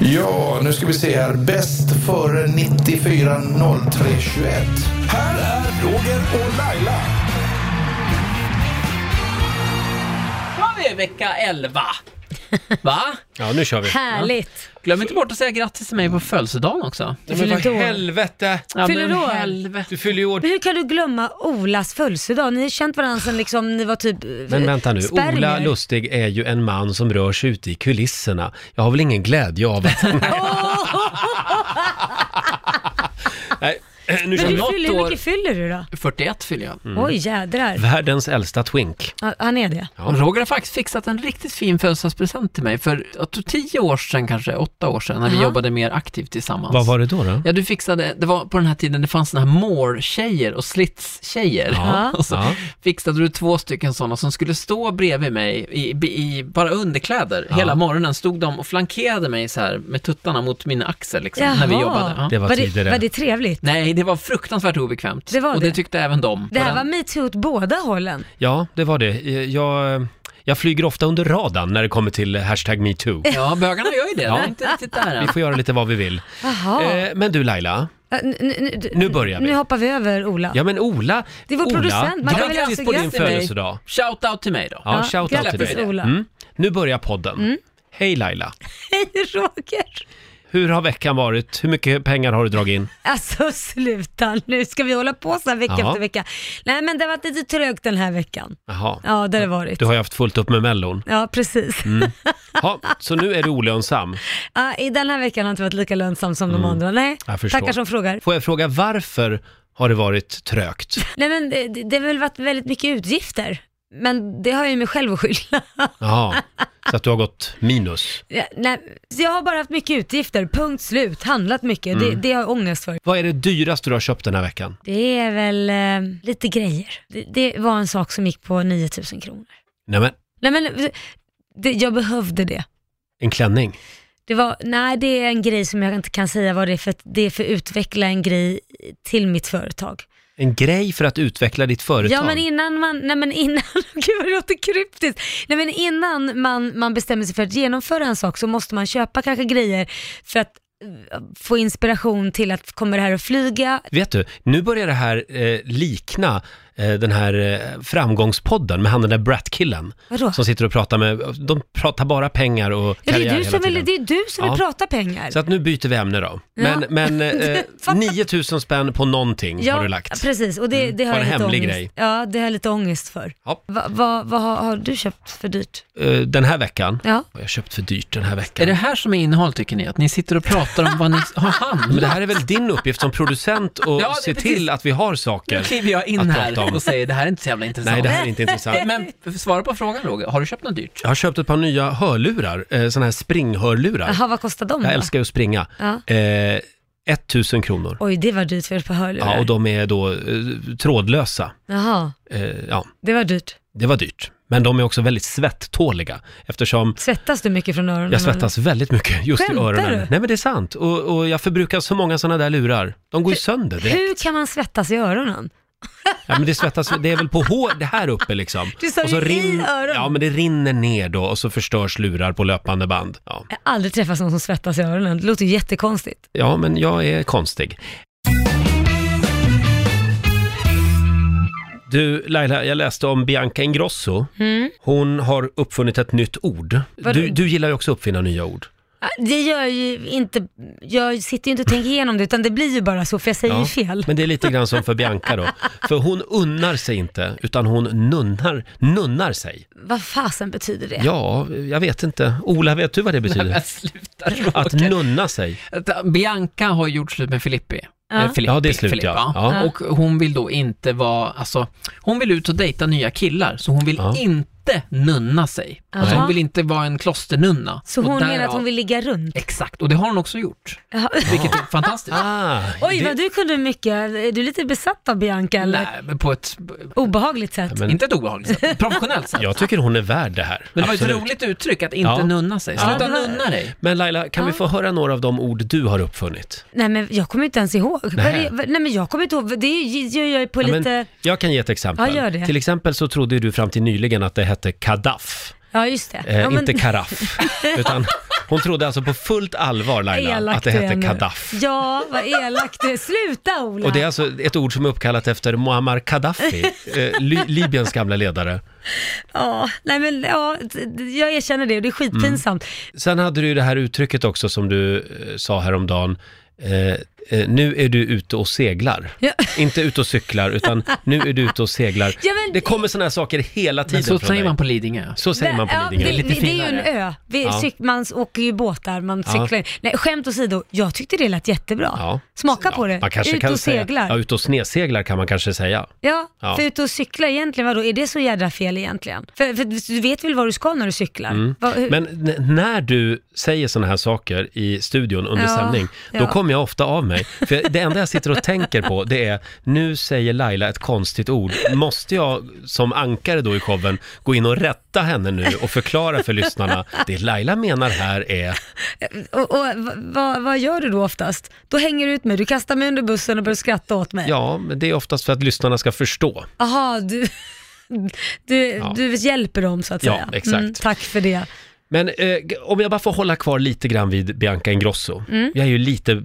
Ja, nu ska vi se här. Bäst före 94 03 21. Här är Roger och Laila. Nu har vi vecka 11. Va? Ja, nu kör vi. Härligt. Glöm inte bort att säga grattis till mig på födelsedagen också. Ja, fyller men inte för år. helvete! Ja, Fyller men du år? helvete. Du fyller ju år... Men hur kan du glömma Olas födelsedag? Ni har känt varandra sedan liksom, ni var typ eh, Men vänta nu, spermier. Ola Lustig är ju en man som rör sig ute i kulisserna. Jag har väl ingen glädje av att... Nej, nu kör Men vi. du Något fyller, hur år- mycket fyller du då? 41 fyller jag. Mm. Oj jädrar. Världens äldsta twink. Ja, Han är det. Ja. Roger har faktiskt fixat en riktigt fin födelsedagspresent till mig för jag tror, tio år sedan kanske, åtta år sedan, när vi Aha. jobbade mer aktivt tillsammans. Vad var det då? då? Ja, du fixade, det var på den här tiden det fanns såna här more-tjejer och slits-tjejer. Ja. Och så Ja. fixade du två stycken sådana som skulle stå bredvid mig i, i bara underkläder. Hela morgonen stod de och flankerade mig så här med tuttarna mot min axel liksom, Alltså, när vi Jaha. jobbade. Ja. Det var tidigare. det, var det trevligt? Nej, det var fruktansvärt obekvämt. Det var och det det. tyckte även de. Det här Och var den- metoo åt båda hållen. Ja, det var det. Jag, jag flyger ofta under radarn när det kommer till hashtag metoo. Ja, bögarna gör ju det. Det är inte riktigt där Vi än. får göra lite vad vi vill. Jaha. Eh, Men du Laila, Ja, nu- nu- nu börjar vi. Nu hoppar vi över Ola. ja men Ola, Det är vår Ola, producent, man kan väl grattis önska på din grattis till mig. födelsedag. Shout out till mig då. Ja, Ja, shout out till grattis, dig. Ola. Mm. Mm. Nu börjar podden. Hej Laila, Hej Roger! hur har veckan varit? Hur mycket pengar har du dragit in? Alltså sluta nu, ska vi hålla på så här vecka Ja. efter vecka? Nej men det har varit lite trögt den här veckan. Jaha, Ja det har det varit. du har Mm. ju haft fullt upp med Mellon. Ja precis. Ja, så nu är du olönsam. Ja, I den här veckan har jag inte varit lika lönsam som de andra. Nej, Mm. Jag förstår. tackar som frågar. Får jag fråga varför har det varit trögt? Nej men det, det har väl varit väldigt mycket utgifter. Men det har jag ju mig själv att skylla. Jaha, så att du har gått minus. Ja, Nej, så jag har bara haft mycket utgifter, punkt slut. Handlat mycket, det, Mm. det har jag ångest för. Vad är det dyraste du har köpt den här veckan? Det är väl eh, lite grejer. Det, det var en sak som gick på 9000 kronor. Nej men, Nej men det, jag behövde det. en klänning. Det var, nej det är en grej som jag inte kan säga vad det är för att det är för att utveckla en grej till mitt företag. En grej för att utveckla ditt företag. Ja men innan man, nej men innan, gud vad det låter kryptiskt. Nej men innan man, man bestämmer sig för att genomföra en sak så måste man köpa kanske grejer för att eh, få inspiration till att kommer det här att flyga? Vet du, nu börjar det här eh, likna eh, den här eh, framgångspodden med han den där Brat-killen. Vadå? Som sitter och pratar med, de pratar bara pengar och Ja, karriär det, är du hela som tiden. vill, det är du som Ja. vill prata pengar. Så att nu byter vi ämne då. Men, Ja. men eh, 9000 spänn på någonting har du lagt. precis och det, det har Var jag en lite hemlig ångest. grej. Ja, det har jag lite ångest för. Ja. Va- Vad vad har, har du köpt för dyrt? Eh, den här veckan, Ja. jag har köpt för dyrt den här Är veckan. det här som är innehåll tycker ni? Att ni sitter och pratar om vad ni har handlat? Men det här är väl din uppgift som producent att Ja, det- se precis. till att vi har saker. Nu kliver jag in att prata här om. och säger det här är inte så jävla intressant. Nej, det här är inte intressant. Men svara på frågan Roger, har du köpt något dyrt? Jag har köpt ett par nya hörlurar, eh, sådana här springhörlurar. Jaha, vad kostar de Jag då? älskar ju att springa. Ja. Eh, 1000 kronor. Oj, det var dyrt för ett par hörlurar. Ja, och de är då eh, trådlösa. Jaha, Eh, ja, det var dyrt. det var dyrt. Men de är också väldigt svettåliga eftersom Svettas du mycket från öronen? jag svettas väldigt mycket just i Mm. Skämtar öronen. du? Nej men det är sant. Och, och jag förbrukar så många sådana där lurar. De går ju sönder eller? direkt. Hur kan man svettas i öronen? Ja, men det, svettas, det är väl på hår, det här uppe liksom. Du sa Och så ju i öronen. Ja men det rinner ner då och så förstörs lurar på löpande band. Ja, Jag har aldrig träffat någon som svettas i öronen. Det låter ju jättekonstigt. ja men jag är konstig. Du Laila, jag läste om Bianca Ingrosso. Hon har uppfunnit ett nytt ord. Mm. Vadå? Du, du gillar ju också att uppfinna nya ord. Ah, Det gör jag ju inte, jag sitter ju inte och tänker igenom det utan det blir ju bara så för jag säger ju fel. Men det är lite grann som för Bianca då. För hon unnar sig inte, utan hon nunnar, nunnar sig. Vad fasen betyder det? Ja, jag vet inte. Ola, vet du vad det betyder? Jag slutar Att Roger. nunna sig. Att Bianca har gjort slut med Filippi. Ja. Eh, Filippi, Ja, det är slut, Filippa. ja. Ja. Och hon vill då inte vara, alltså, hon vill ut och dejta nya killar, så hon vill Ja. inte nunna sig. Alltså, Jaha. hon vill inte vara en klosternunna. Så Och hon menar att därav- hon vill ligga runt? Eh, Exakt, och det har hon också gjort. Jaha. Vilket är fantastiskt. Ah, Oj, det- vad du kunde mycket. Är du lite besatt av Bianca eller? Nej, men på ett, Obehagligt sätt. Men- inte ett obehagligt sätt, professionellt sätt. Jag tycker hon är värd det här. Men det var ett Absolut. roligt uttryck att inte Ja. nunna sig. Sluta det var- nunna dig. Men Laila, kan vi få höra några av de ord du har uppfunnit? Nej men jag kommer inte ens ihåg. Vad Nej. är det- vad- Nej men jag kommer inte ihåg, det är- gör jag ju på Ja, men lite... jag kan ge ett exempel. Ja, gör det. Till exempel så trodde ju du fram till nyligen att det hette kadaff. Ja, just det. Eh, ja, Inte karaff. Utan hon trodde alltså på fullt allvar Laila Elak att det du är hette nu. kadaff. Ja, vad elak du är. Sluta Ola! Och det är alltså ett ord som är uppkallat efter Muammar Gaddafi, eh, Li- Libyens gamla ledare. Ja, nej men ja, d- d- jag erkänner det och det är skitpinsamt. Sen hade du ju det här uttrycket också som du eh, sa häromdagen. Eh, eh, nu är du ute och seglar. Ja. Inte ute och cyklar, utan nu är du ute och seglar. Ja, men- det kommer sådana här saker hela tiden Men så från säger dig. man på Lidingö. Så säger man på ja, Lidingö. det, Lite det, det är ju en finare. ö. Vi, Ja. cyk, man åker ju båtar, man Ja. cyklar. Nej, skämt åsido, jag tyckte det lät jättebra. Ja. Smaka Ja, på det. man kanske ut kan och seglar. Säga, ja, ja, ut och sneseglar kan man kanske säga. Ja. för ut och cykla egentligen, vadå? Är det så jädra fel egentligen? För, för du vet väl var du ska när du cyklar? Vad- hur- Mm. Men n- när du säger sådana här saker i studion under Ja, sändning, då ja. kommer jag ofta av mig. För det enda jag sitter och tänker på, det är, nu säger Laila ett konstigt ord. Måste jag som ankare då i showen gå in och rätta henne nu och förklara för lyssnarna, det Laila menar här är... och, och, vad- vad, vad gör du då oftast? Då hänger du ut mig, du kastar mig under bussen och börjar skratta åt mig. Ja, men det är oftast för att lyssnarna ska förstå. Aha, du, du, du hjälper dem så att Ja, säga. Mm, exakt. tack för det. Men eh, g- om jag bara får hålla kvar lite grann vid Bianca Ingrosso. Jag är ju lite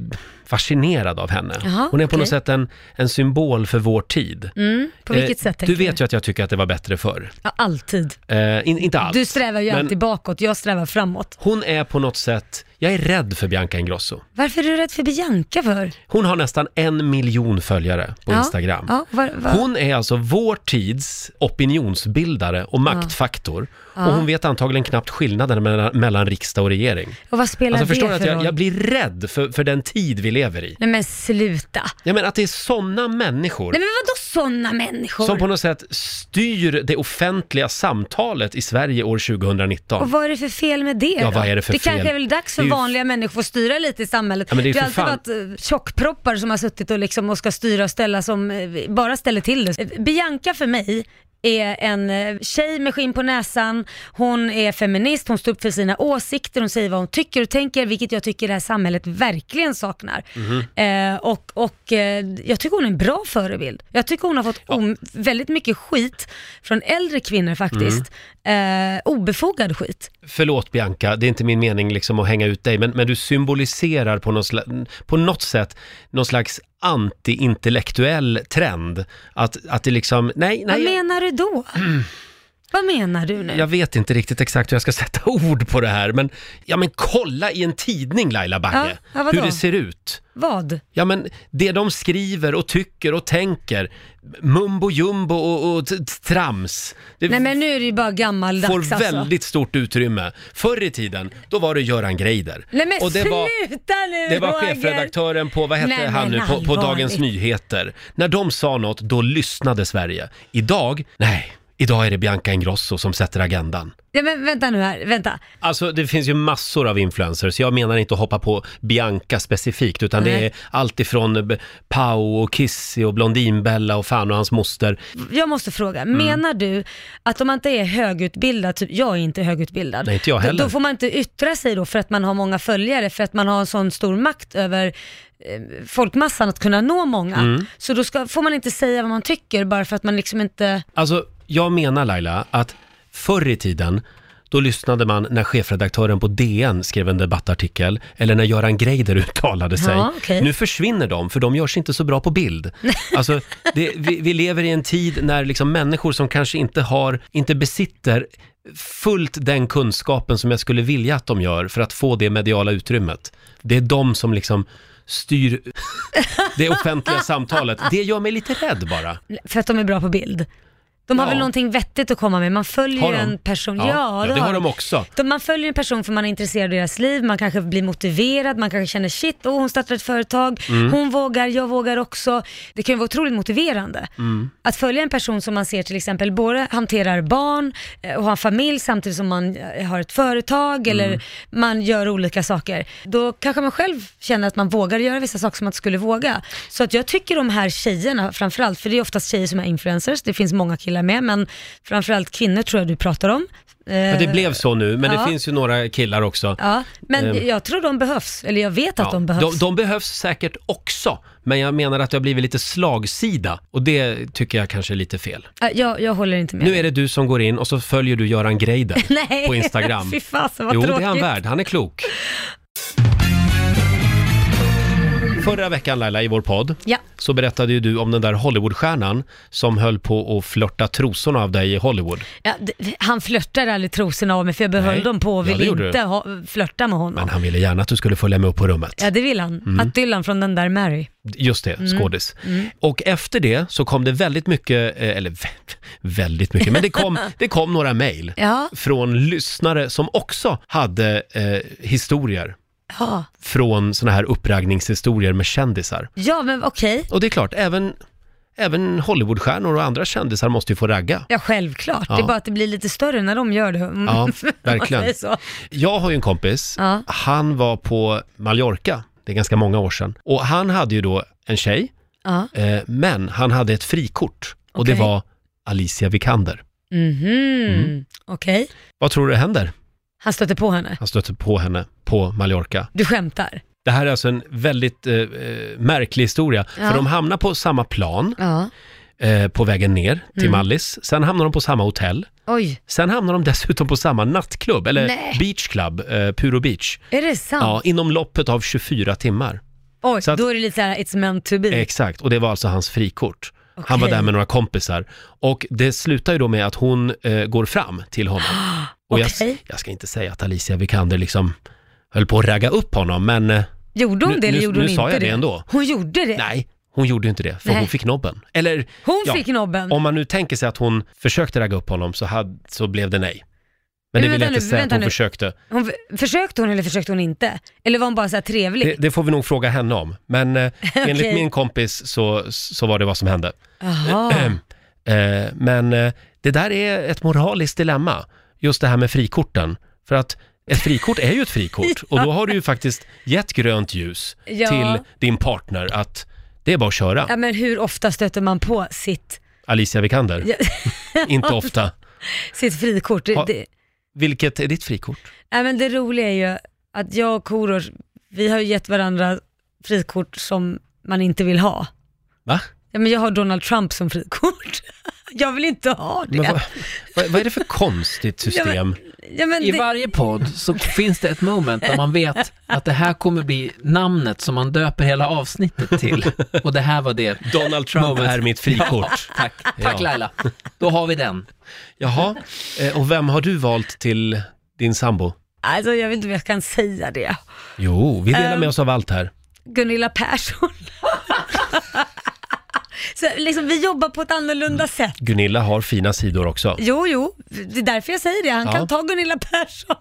fascinerad av henne. Mm. Jaha, Hon är på något okej. sätt en, en symbol för vår tid. Mm, på vilket Eh, sätt Du tänker vet ju att jag tycker att det var bättre förr. Ja, alltid. Eh, in, inte allt. Du strävar ju Men- alltid bakåt, jag strävar framåt. Hon är på något sätt, jag är rädd för Bianca Ingrosso. Varför är du rädd för Bianca för? Hon har nästan en miljon följare på Ja, Instagram. Ja, var, var, Hon är alltså vår tids opinionsbildare och maktfaktor. Och hon vet antagligen knappt skillnaden mellan, mellan riksdag och regering. och vad spelar Alltså förstår du det att för jag, roll? jag blir rädd för, för den tid vi lever i. Nej men sluta. Ja men att det är sådana människor Nej men vadå sådana människor? som på något sätt styr det offentliga samtalet i Sverige år 2019. Och vad är det för fel med det Ja, då? vad är det för Det kanske fel? är väl dags för Det är ju- vanliga människor att styra lite i samhället. Ja, men det är ju har för alltid varit eh, tjockproppar som har suttit och, liksom och ska styra och ställa som eh, bara ställer till det. Eh, Bianca för mig är en eh, tjej med skinn på näsan, hon är feminist, hon står upp för sina åsikter, hon säger vad hon tycker och tänker, vilket jag tycker det här samhället verkligen saknar. Mhm. Eh, och och eh, jag tycker hon är en bra förebild. Jag tycker hon har fått om, väldigt mycket skit från äldre kvinnor faktiskt. Mhm. Eh, obefogad skit. Förlåt Bianca, det är inte min mening liksom att hänga ut dig, men, men du symboliserar på, någon sla- på något sätt någon slags antiintellektuell trend. Att, att det liksom, nej, nej, Vad jag- menar du då? Vad menar du nu? jag vet inte riktigt exakt hur jag ska sätta ord på det här, men, ja, men kolla i en tidning Laila Bagge, Ja, ja, vadå? hur det ser ut. Vad? Ja men det de skriver och tycker och tänker, mumbo jumbo och, och t- trams. Det Nej men nu är det ju bara gammaldags får alltså. väldigt stort utrymme. Förr i tiden, då var det Göran Greider. Nej men och det sluta var, nu det var Roger. chefredaktören på, vad hette Nej, han nu, men på, på Dagens allvarligt. Nyheter. När de sa något, då lyssnade Sverige. Idag, nej, idag är det Bianca Ingrosso som sätter agendan. Ja men vänta nu här, vänta. Alltså det finns ju massor av influencers. Jag menar inte att hoppa på Bianca specifikt utan det Nej. är allt ifrån eh, Pau och Kissy och Blondinbella och fan och hans moster. Jag måste fråga, Mm. menar du att om man inte är högutbildad, typ jag är inte högutbildad. Nej, inte jag då- heller. Då får man inte yttra sig då för att man har många följare, för att man har en sån stor makt över eh, folkmassan att kunna nå många. Mm. Så då ska, får man inte säga vad man tycker bara för att man liksom inte... Alltså jag menar Laila att förr i tiden då lyssnade man när chefredaktören på DN skrev en debattartikel eller när Göran Greider uttalade sig. Ja, okej. Nu försvinner de för de görs inte så bra på bild. Alltså, det, vi, vi lever i en tid när liksom människor som kanske inte har, inte besitter fullt den kunskapen som jag skulle vilja att de gör för att få det mediala utrymmet. Det är de som liksom styr det offentliga samtalet. Det gör mig lite rädd bara. För att de är bra på bild. De har Ja. väl någonting vettigt att komma med. Man följer Har ju de? en person. Ja, Ja, ja, det har de också. De- Man följer en person för man är intresserad av deras liv, man kanske blir motiverad, man kanske känner shit, oh, hon startar ett företag, hon vågar, jag vågar också. Det kan ju vara otroligt motiverande. Att följa en person som man ser till exempel både hanterar barn eh, och har familj samtidigt som man eh, har ett företag eller man gör olika saker. Då kanske man själv känner att man vågar göra vissa saker som man inte skulle våga. Så att jag tycker de här tjejerna framförallt, för det är oftast tjejer som är influencers, det finns många killar med, men framförallt kvinnor tror jag du pratar om Eh, Ja, det blev så nu, men Ja. det finns ju några killar också. Ja, men Ehm. jag tror de behövs, eller jag vet att Ja, de behövs. De, de behövs säkert också, men jag menar att det har blivit lite slagsida och det tycker jag kanske är lite fel. Äh, Jag, jag håller inte med. Nu är det du som går in och så följer du Göran Greider Nej. på Instagram. Fy fasen vad jo, tråkigt. det är han värd. Han är klok. Förra veckan Laila, i vår podd, Ja. så berättade ju du om den där Hollywoodstjärnan som höll på att flörta trosorna av dig i Hollywood. Ja, d- han flörtade aldrig trosorna av mig för jag behöll Nej. dem på och Ja, det ville gjorde inte du. ha, flörta med honom. Men Mm. han ville gärna att du skulle följa med upp på rummet. Ja det vill han. Att Dylan från den där Mary. Just det, Mm. skådis. Och efter det så kom det väldigt mycket, eh, eller vä- väldigt mycket, men det kom, det kom några mejl Ja. från lyssnare som också hade eh, historier Ja, från såna här uppraggningshistorier med kändisar. ja men okej. Och det är klart, även, även Hollywoodstjärnor och andra kändisar måste ju få ragga. Ja självklart. Det är Ja. bara att det blir lite större när de gör det. Mm. Ja, Om man verkligen. säger så. Jag har ju en kompis, Ja. han var på Mallorca, det är ganska många år sedan, och han hade ju då en tjej, Ja. eh, men han hade ett frikort och det Okej. var Alicia Vikander. Mhm. Mm. Okej. Vad tror du händer? Han stötte på henne. Han stötte på henne på Mallorca. Du skämtar? Det här är alltså en väldigt eh, eh, märklig historia, Ja. för de hamnar på samma plan Ja. eh, på vägen ner till Mm. Mallis, sen hamnar de på samma hotell, Oj, sen hamnar de dessutom på samma nattklubb, eller Nej. beachclub, eh, Puro Beach, är det ja, sant? inom loppet av 24 timmar. Oj, så att- då är det lite såhär, it's meant to be. Exakt, och det var alltså hans frikort. Mm. Okej. Han var där med några kompisar och det slutar ju då med att hon eh, går fram till honom. Och jag, Okej. jag ska inte säga att Alicia Vikander liksom höll på att ragga upp honom, men eh, Gjorde hon Nu- det eller nu- gjorde hon nu inte sa jag det ändå. Hon gjorde det? nej, hon gjorde ju inte det, för Nej. hon fick nobben. Eller, Hon ja, fick nobben? om man nu tänker sig att hon försökte ragga upp honom så, hade, så blev det nej. Men Men det vill jag vänta inte nu, säga att vänta hon nu. försökte. Hon, försökte hon eller försökte hon inte? Eller var hon bara såhär trevlig? Det, det får vi nog fråga henne om, men eh, enligt Okej. min kompis så, så var det vad som hände. Jaha. Eh, men eh, det där är ett moraliskt dilemma, just det här med frikorten. För att ett frikort är ju ett frikort och då har du ju faktiskt gett grönt ljus Ja. till din partner att det är bara att köra. Ja men hur ofta stöter man på sitt, Alicia Vikander. Ja. Inte ofta. sitt frikort? Det, Ha- det, Vilket är ditt frikort? ja, men det roliga är ju att jag och Korosh, vi har ju gett varandra frikort som man inte vill ha. Va? Ja, men jag har Donald Trump som frikort. Jag vill inte ha det. Men vad, vad, vad är det för konstigt Ja, system? ja, men I det varje podd så finns det ett moment där man vet att det här kommer bli namnet som man döper hela avsnittet till. Och det här var det. Donald Trump Moment. är mitt frikort. Tack, tack Ja. Laila. Då har vi den. Jaha, eh, och vem har du valt till din sambo? alltså, jag vet inte om jag kan säga det. Jo, vi Ehm. delar med oss av allt här. Gunilla Persson. Så, liksom, vi jobbar på ett Mm. annorlunda sätt. Gunilla har fina sidor också. Jo, jo, det är därför jag säger det. Han Ja. kan ta Gunilla Persson.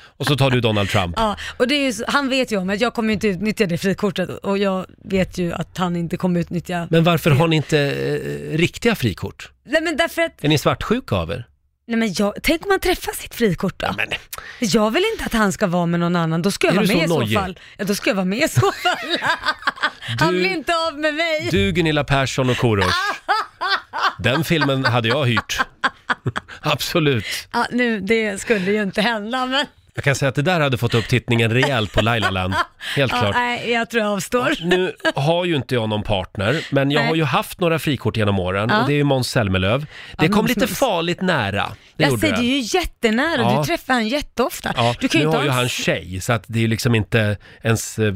Och så tar du Donald Trump. Ja, och det är ju, så- han vet ju om att jag kommer ju inte utnyttja det frikortet och jag vet ju att han inte kommer utnyttja... Men varför har ni inte eh, riktiga frikort? Nej men därför att, Är ni svartsjuka av er? nej men jag, tänk om man träffar sitt frikort då? Men, Jag vill inte att han ska vara med någon annan, då ska jag Är vara du med i så så nojig? fall. Ja, då ska jag vara med i så fall. Han blir du, inte av med mig. du, Gunilla Persson och Korosh. Den filmen hade jag hyrt. Absolut. Ja, nu, det skulle ju inte hända men Jag kan säga att det där hade fått upp tittningen rejält på Lailaland. Helt ja, klart. nej, jag tror jag avstår. Nu har ju inte jag någon partner, men jag Nej. har ju haft några frikort genom åren Ja. och det är ju Måns Zelmerlöw. Det Ja, kom Måns- lite farligt nära. Det jag gjorde säger det. det är ju jättenära, Ja. du träffar han jätteofta. Ja, du kan ju nu inte har ju ens- han tjej, så att det är liksom inte ens... eh,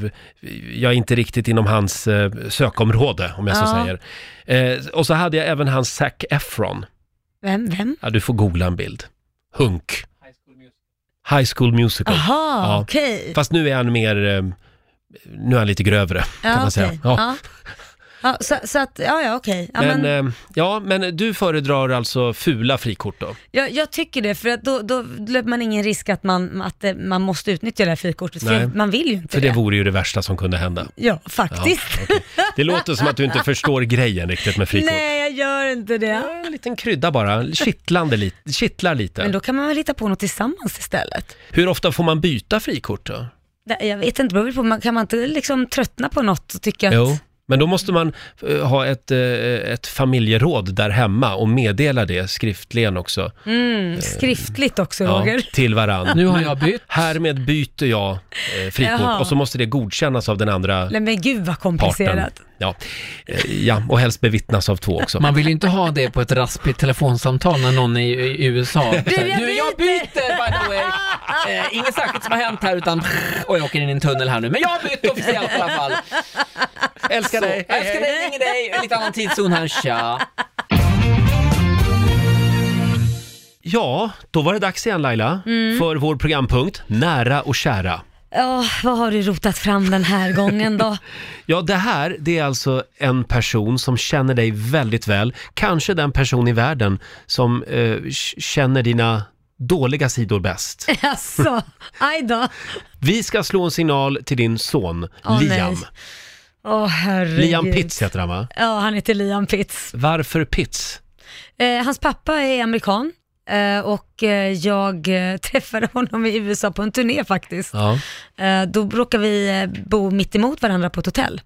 Jag är inte riktigt inom hans eh, sökområde, om jag så Ja. säger. Eh, och så hade jag även hans Zac Efron. Vem, vem? Ja, du får googla en bild. Hunk. High School Musical. Jaha, Ja. okej. Fast nu är han mer... eh, Nu är han lite grövre, kan man säga. okej. Ja. Ja. Ja, så, så att, ja, ja okej. Ja, Men, men, eh, ja, men du föredrar alltså fula frikort då? jag, jag tycker det, för att då, då löper man ingen risk att man, att eh, man måste utnyttja det här frikortet, Nej. för man vill ju inte För det. det vore ju det värsta som kunde hända. Ja, Ja, faktiskt. okej. Det låter som att du inte förstår grejen riktigt med frikort. Nej, jag gör inte det. Ja, En liten krydda bara, kittlande lite, kittlar lite. Men då kan man väl hitta på något tillsammans istället? Hur ofta får man byta frikort då? Det- Jag vet inte, det beror väl på, man, kan man inte liksom tröttna på något och tycka att... Jo, Men då måste man eh, ha ett, eh, ett familjeråd där hemma och meddela det skriftligen också. Mm, skriftligt också Ja, Roger. till varann. Nu har jag bytt. Härmed byter jag eh, frikort Jaha. och så måste det godkännas av den andra Nej men gud vad parten. komplicerat. Ja. Eh, ja, och helst bevittnas av två också. Man vill ju inte ha det på ett raspigt telefonsamtal när någon är i i USA jag Du, jag byter by the way! Eh, inget särskilt som har hänt här utan och jag åker in i en tunnel här nu, men jag har bytt officiellt i alla fall. älskar dig! Jag älskar dig, ringer dig, lite annan tidszon här, tja. Ja, då var det dags igen Laila Mm. för vår programpunkt Nära och kära. Ja, vad har du rotat fram den här gången då? Ja, det här det är alltså en person som känner dig väldigt väl. Kanske den person i världen som eh, k- känner dina dåliga sidor bäst. Jaså, Alltså, aj då. Vi ska slå en signal till din son Åh, Liam. nej. Åh herregud. Liam Pitts heter han va? Ja, han heter Liam Pitts. Varför Pitts? Eh, hans pappa är amerikan eh, och eh, jag eh, träffade honom i USA på en turné faktiskt. Ja. Eh, då råkar vi eh, bo mitt emot varandra på ett hotell.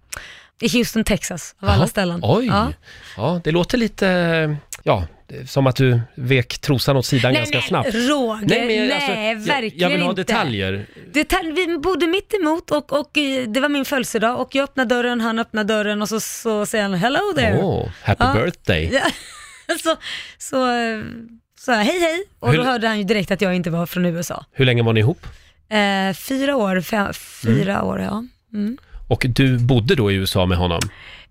I Houston, Texas, av alla Jaha. ställen. Oj! Ja. Ja. det låter lite, ja, som att du vek trosan åt sidan ganska snabbt. Roger, nej, alltså, jag, verkligen jag vill ha inte. detaljer. Detalj, vi bodde mitt emot och, och eh, det var min födelsedag och jag öppnade dörren, han öppnade dörren och så, så säger han hello there. Åh, happy Ja. birthday. Ja, så så eh, sa jag hej hej och Hur- då hörde han ju direkt att jag inte var från USA. Hur länge var ni ihop? Eh, fyra år, fem, Mm. fyra år ja. Mm. Och du bodde då i USA med honom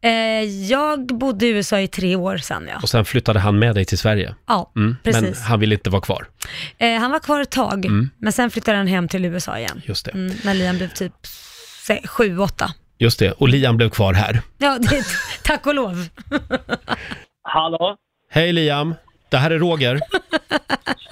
Eh, jag bodde i USA i tre år sen ja. och sen flyttade han med dig till Sverige. Ja, Mm, men precis. han ville inte vara kvar. Eh, han var kvar ett tag, men sen flyttade han hem till USA igen. Mm. Just det. Mm, när Liam blev typ se- sju, åtta. Just det, och Liam blev kvar här. Ja, det, tack och lov. Hallå? Hej Liam, det här är Roger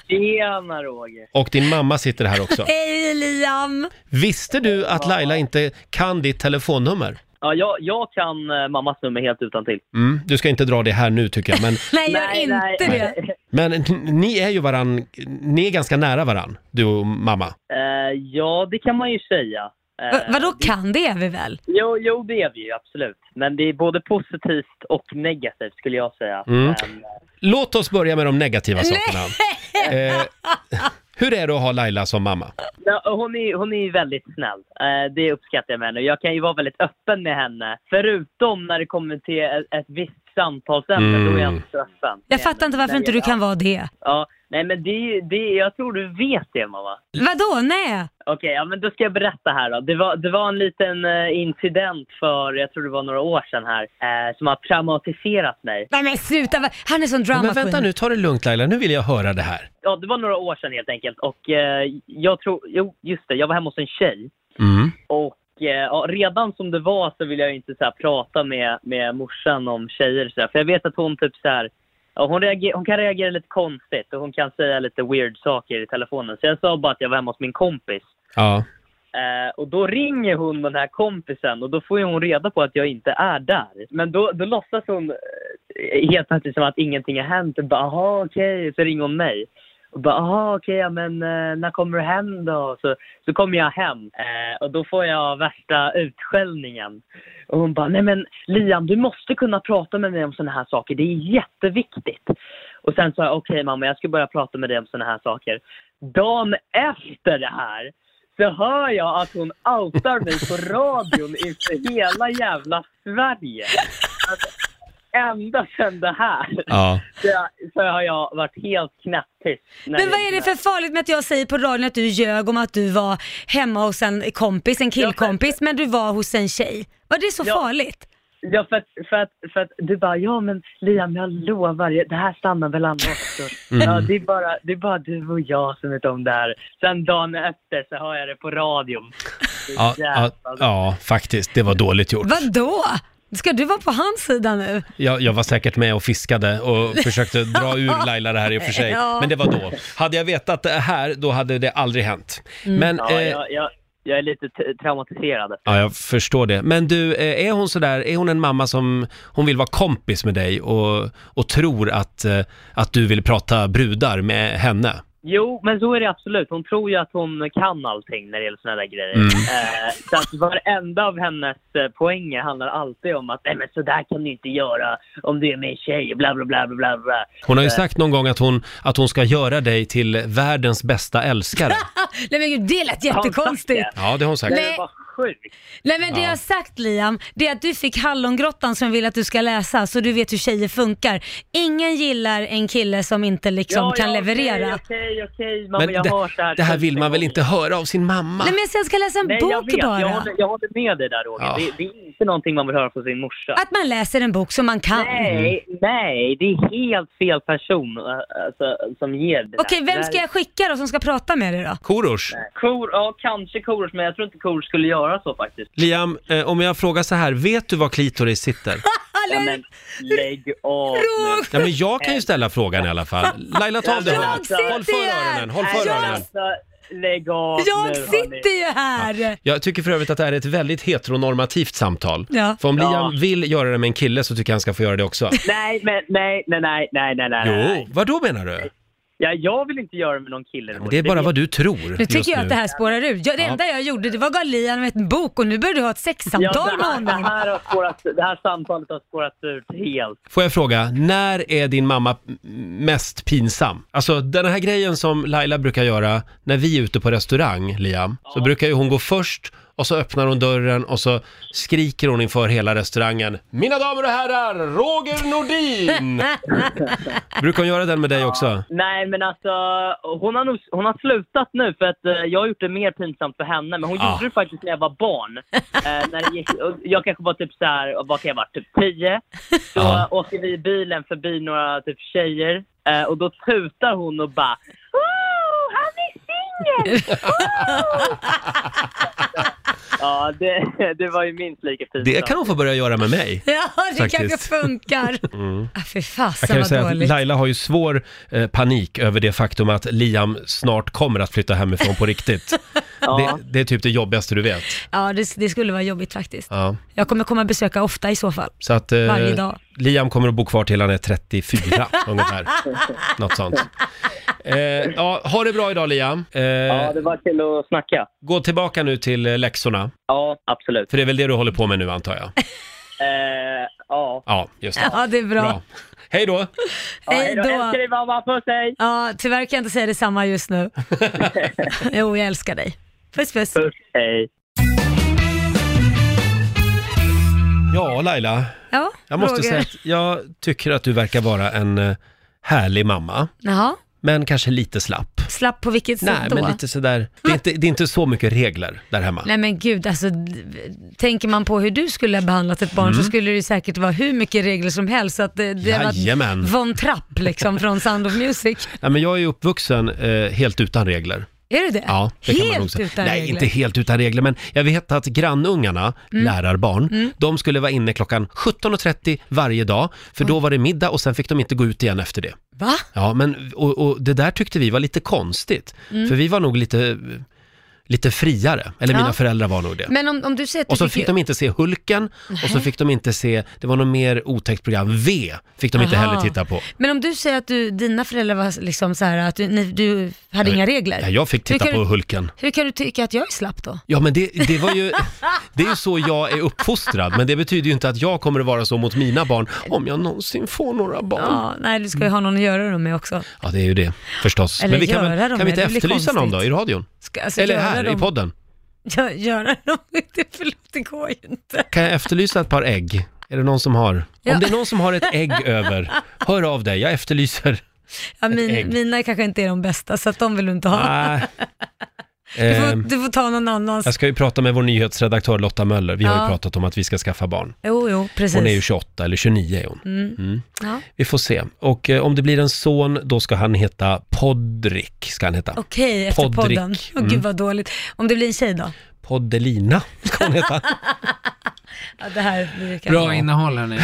Tjena Roger! och din mamma sitter här också. Hej Liam! Visste du att Laila inte kan ditt telefonnummer? Ja, jag, jag kan eh, mammas nummer helt utan till. Mm, du ska inte dra det här nu tycker jag, men, Nej, gör inte det. men n- ni är ju varann, ni är ganska nära varann, du och mamma. Eh, ja, det kan man ju säga. Eh, Va, vadå kan det är vi väl? Jo, jo, det är vi ju absolut. Men det är både positivt och negativt skulle jag säga. Mm. Men, eh, Låt oss börja med de negativa sakerna. Eh, hur är det att ha Laila som mamma? ja, och hon, är, hon är ju väldigt snäll. Eh, det uppskattar jag med henne. Jag kan ju vara väldigt öppen med henne. Förutom när det kommer till ett, ett visst samtalsämne, Mm. då är jag inte så öppen. Jag fattar inte varför inte du kan vara det. Ja, nej men det, är ju- det, är- jag tror du vet det mamma. Vadå, nej? Okej, ja, men då ska jag berätta här då. Det var, det var en liten eh, incident för, jag tror det var några år sedan här, eh, som har traumatiserat mig. Nej men sluta, va- han är sån drama Men vänta queen. nu, ta det lugnt Laila, nu vill jag höra det här. Ja, det var några år sedan helt enkelt och eh, jag tror, jo just det, jag var hemma hos en tjej Mm. och eh, ja, redan som det var så vill jag ju inte så här, prata med, med morsan om tjejer så här, för jag vet att hon typ så här, ja, hon, reager, hon kan reagera lite konstigt och hon kan säga lite weird saker i telefonen. Så jag sa bara att jag var hemma hos min kompis Ja. Eh, och då ringer hon den här kompisen och då får ju hon reda på att jag inte är där. Men då, då låtsas hon eh, helt plötsligt som att ingenting har hänt. Och bara, aha okej. Så ringer hon mig. Och bara, aha okej, ja, men eh, när kommer du hem då? Så, så kommer jag hem eh, och då får jag värsta utskällningen. Och hon bara, nej men Liam du måste kunna prata med mig om sådana här saker. Det är jätteviktigt. Och sen sa jag, okej mamma jag ska börja prata med dig om sådana här saker. Dagen efter det här så hör jag att hon outar mig på radion inför hela jävla Sverige. Alltså, ända sedan det här ja. så, så har jag varit helt knäpptyst. när Men vad är det för farligt med att jag säger på radion att du ljög om att du var hemma hos en kompis, en killkompis, men du var hos en tjej? Var det så Ja. farligt? Ja, för att, för, att, för att du bara, ja men Liam jag lovar, jag- det här stannar mellan oss. Och, Mm. ja, det, är bara, det är bara du och jag som vet om det här. Sen dagen efter så hör jag det på radion. Ja, ja, ja, faktiskt. Det var dåligt gjort. Vadå? Ska du vara på hans sida nu? Jag, jag var säkert med och fiskade och försökte dra ur Laila det här i och för sig. Ja. Men det var då. Hade jag vetat det här, då hade det aldrig hänt. Mm. Men, Ja, eh, jag, jag, jag är lite t- traumatiserad. ja, jag förstår det. Men du, eh, är hon sådär, är hon en mamma som, hon vill vara kompis med dig och, och tror att, eh, att du vill prata brudar med henne? Jo, men så är det absolut. Hon tror ju att hon kan allting när det gäller såna där grejer. Mm. Eh, så att varenda av hennes eh, poänger handlar alltid om att nej men så där kan du inte göra om du är med en tjej, bla bla bla bla bla. bla. Hon har ju sagt någon gång att hon, att hon ska göra dig till världens bästa älskare. Nej men gud, det lät jättekonstigt. Ja, det har hon sagt. Nej. Det var sjukt. Nej men det Ja. jag har sagt Liam, det är att du fick Hallongrottan som vill att du ska läsa så du vet hur tjejer funkar. Ingen gillar en kille som inte liksom kan leverera. Okej, okej, okej. Men Mamma, jag har så typ det, det här vill man väl inte höra av sin mamma? Nej men jag säger, jag ska läsa en Nej, jag bok vet. bara. Jag håller, jag håller med dig där Roger. Ja. Det, det är inte någonting man vill höra från sin morsa. Att man läser en bok som man kan. Nej, nej, det är helt fel person eh, alltså, som ger det där. Okej, vem ska jag skicka då som ska prata med dig då? Korosh, Kor, ja kanske Korosh, men jag tror inte Korosh skulle göra så faktiskt. Liam, eh, om jag frågar så här, vet du var klitoris sitter? Ja, men lägg av nu. Ja, men jag kan ju ställa frågan i alla fall. Laila, ta av dig Jag håll sitter för här. öronen. Håll Nej, för Jag öronen. alltså, lägg av nu, Jag hörni. sitter ju här! Jag tycker för övrigt att det här är ett väldigt heteronormativt samtal. Ja. För om Ja. Liam vill göra det med en kille så tycker jag han ska få göra det också. Nej, men nej, nej, nej, nej, nej, nej. Jo, nej. vad då menar du? Ja, jag vill inte göra det med någon kille. Det är bara vad du tror Nu tycker just jag nu. att det här spårar ur. Jag, det enda jag gjorde det var att gav Liam ett bok och nu börjar du ha ett Ja, sexsamtal det, med här, det, honom. här har spårat, det här samtalet har spårat ut helt. Får jag fråga, när är din mamma m- mest pinsam? Alltså den här grejen som Laila brukar göra när vi är ute på restaurang, Liam, så brukar ju hon gå först och så öppnar hon dörren och så skriker hon inför hela restaurangen Mina damer och herrar, Roger Nordin! brukar hon göra den med dig också? Nej, men alltså hon har, nog, hon har slutat nu för att eh, jag har gjort det mer pinsamt för henne. Men hon Ah. gjorde det faktiskt när jag var barn. Eh, när det gick, och jag kanske var typ så här, vad kan jag vara, typ 10. Så Ja. åker vi i bilen förbi några typ tjejer eh, och då tutar hon och bara "Wow, han är singel!" Wow! Ja, det, det var ju minst lika pinsamt. Det kan hon få börja göra med mig. Ja, det kanske Faktiskt. Mm. funkar. Ah, fy Jag kan fasen ju vad säga att dåligt. Laila har ju svår eh, panik över det faktum att Liam snart kommer att flytta hemifrån på riktigt. Ja. Det, det är typ det jobbigaste du vet. Ja, det, det skulle vara jobbigt faktiskt. Ja. Jag kommer komma och besöka ofta i så fall. Så att eh, Varje dag. Liam kommer att bo kvar till han är 34 ungefär. Något sånt. Eh, ja, ha det bra idag Liam. Eh, Ja, det var kul att snacka. Gå tillbaka nu till eh, läxorna. Ja, absolut. För det är väl det du håller på med nu antar jag. Eh, ja. Ja, just det. Ja, det är bra. Bra. Hej då! Ja, Hej då. Älskar dig mamma, puss hej! Ja, tyvärr kan jag inte säga detsamma just nu. jo, jag älskar dig. Puss puss. Puss hej! Ja, Laila. Ja, Jag måste Roger. säga att jag tycker att du verkar vara en eh, härlig mamma. Jaha, Men kanske lite slapp. slapp på vilket sätt Nej, då? men lite sådär. Det är, inte, det är inte så mycket regler där hemma. Nej men gud, alltså, d- tänker man på hur du skulle ha behandlat ett barn Mm. så skulle det ju säkert vara hur mycket regler som helst. Så att det, det har Jajamän. varit Von Trapp liksom från Sound of Music. Nej, men jag är ju uppvuxen eh, helt utan regler. Är det det? Ja, det Helt kan man nog säga. utan Nej, regler? Mm. inte helt utan regler, men jag vet att grannungarna, lärarbarn, de skulle vara inne klockan 17.30 varje dag, för då var det middag och sen fick de inte gå ut igen efter det. Va? Ja, men och, och det där tyckte vi var lite konstigt, för vi var nog lite, lite friare, eller Mm. Ja. mina föräldrar var nog det. Men om, om du säger att Och du så fick de inte se Hulken och så fick de inte se, det var något mer otäckt program, V fick de inte Aha. heller titta på. Men om du säger att du, dina föräldrar var liksom så här att du, ni, du hade inga regler. Ja, jag fick Hur titta kan på du- Hulken. Hur kan du tycka att jag är slapp då? Ja, men det, det var ju... Det är ju så jag är uppfostrad, men det betyder ju inte att jag kommer att vara så mot mina barn, om jag någonsin får några barn. Ja, nej du ska ju ha någon att göra dem med också. Ja, det är ju det, förstås. Eller men vi kan, göra väl, dem kan vi inte med, det blir efterlysa någon då, konstigt. i radion? Ska, alltså, Eller göra här, dem, i podden? Ja, göra dem inte, förlåt det går ju inte. Kan jag efterlysa ett par ägg? Är det någon som har? Ja. Om det är någon som har ett ägg över, hör av dig, jag efterlyser. Ja, min, ägg. mina kanske inte är de bästa så att de vill du inte ha. Nej. Du får, Ehm, du får ta någon annans. jag ska ju prata med vår nyhetsredaktör Lotta Möller, vi har ju Ja. pratat om att vi ska skaffa barn. Jo, jo, precis. Mm. Hon är ju 28 eller 29 är hon. Mm. ja. Vi får se. Och eh, om det blir en son, då ska han heta Podrick. Ska han heta. Okej, efter Podrick. podden. Åh Mm. Gud vad dåligt. Om det blir en tjej då? Poddelina ska hon heta. Ja, det här blir kanske... Bra innehåll hörni.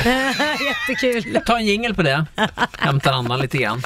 Jättekul. Ta en jingel på det. Hämtar andan lite grann.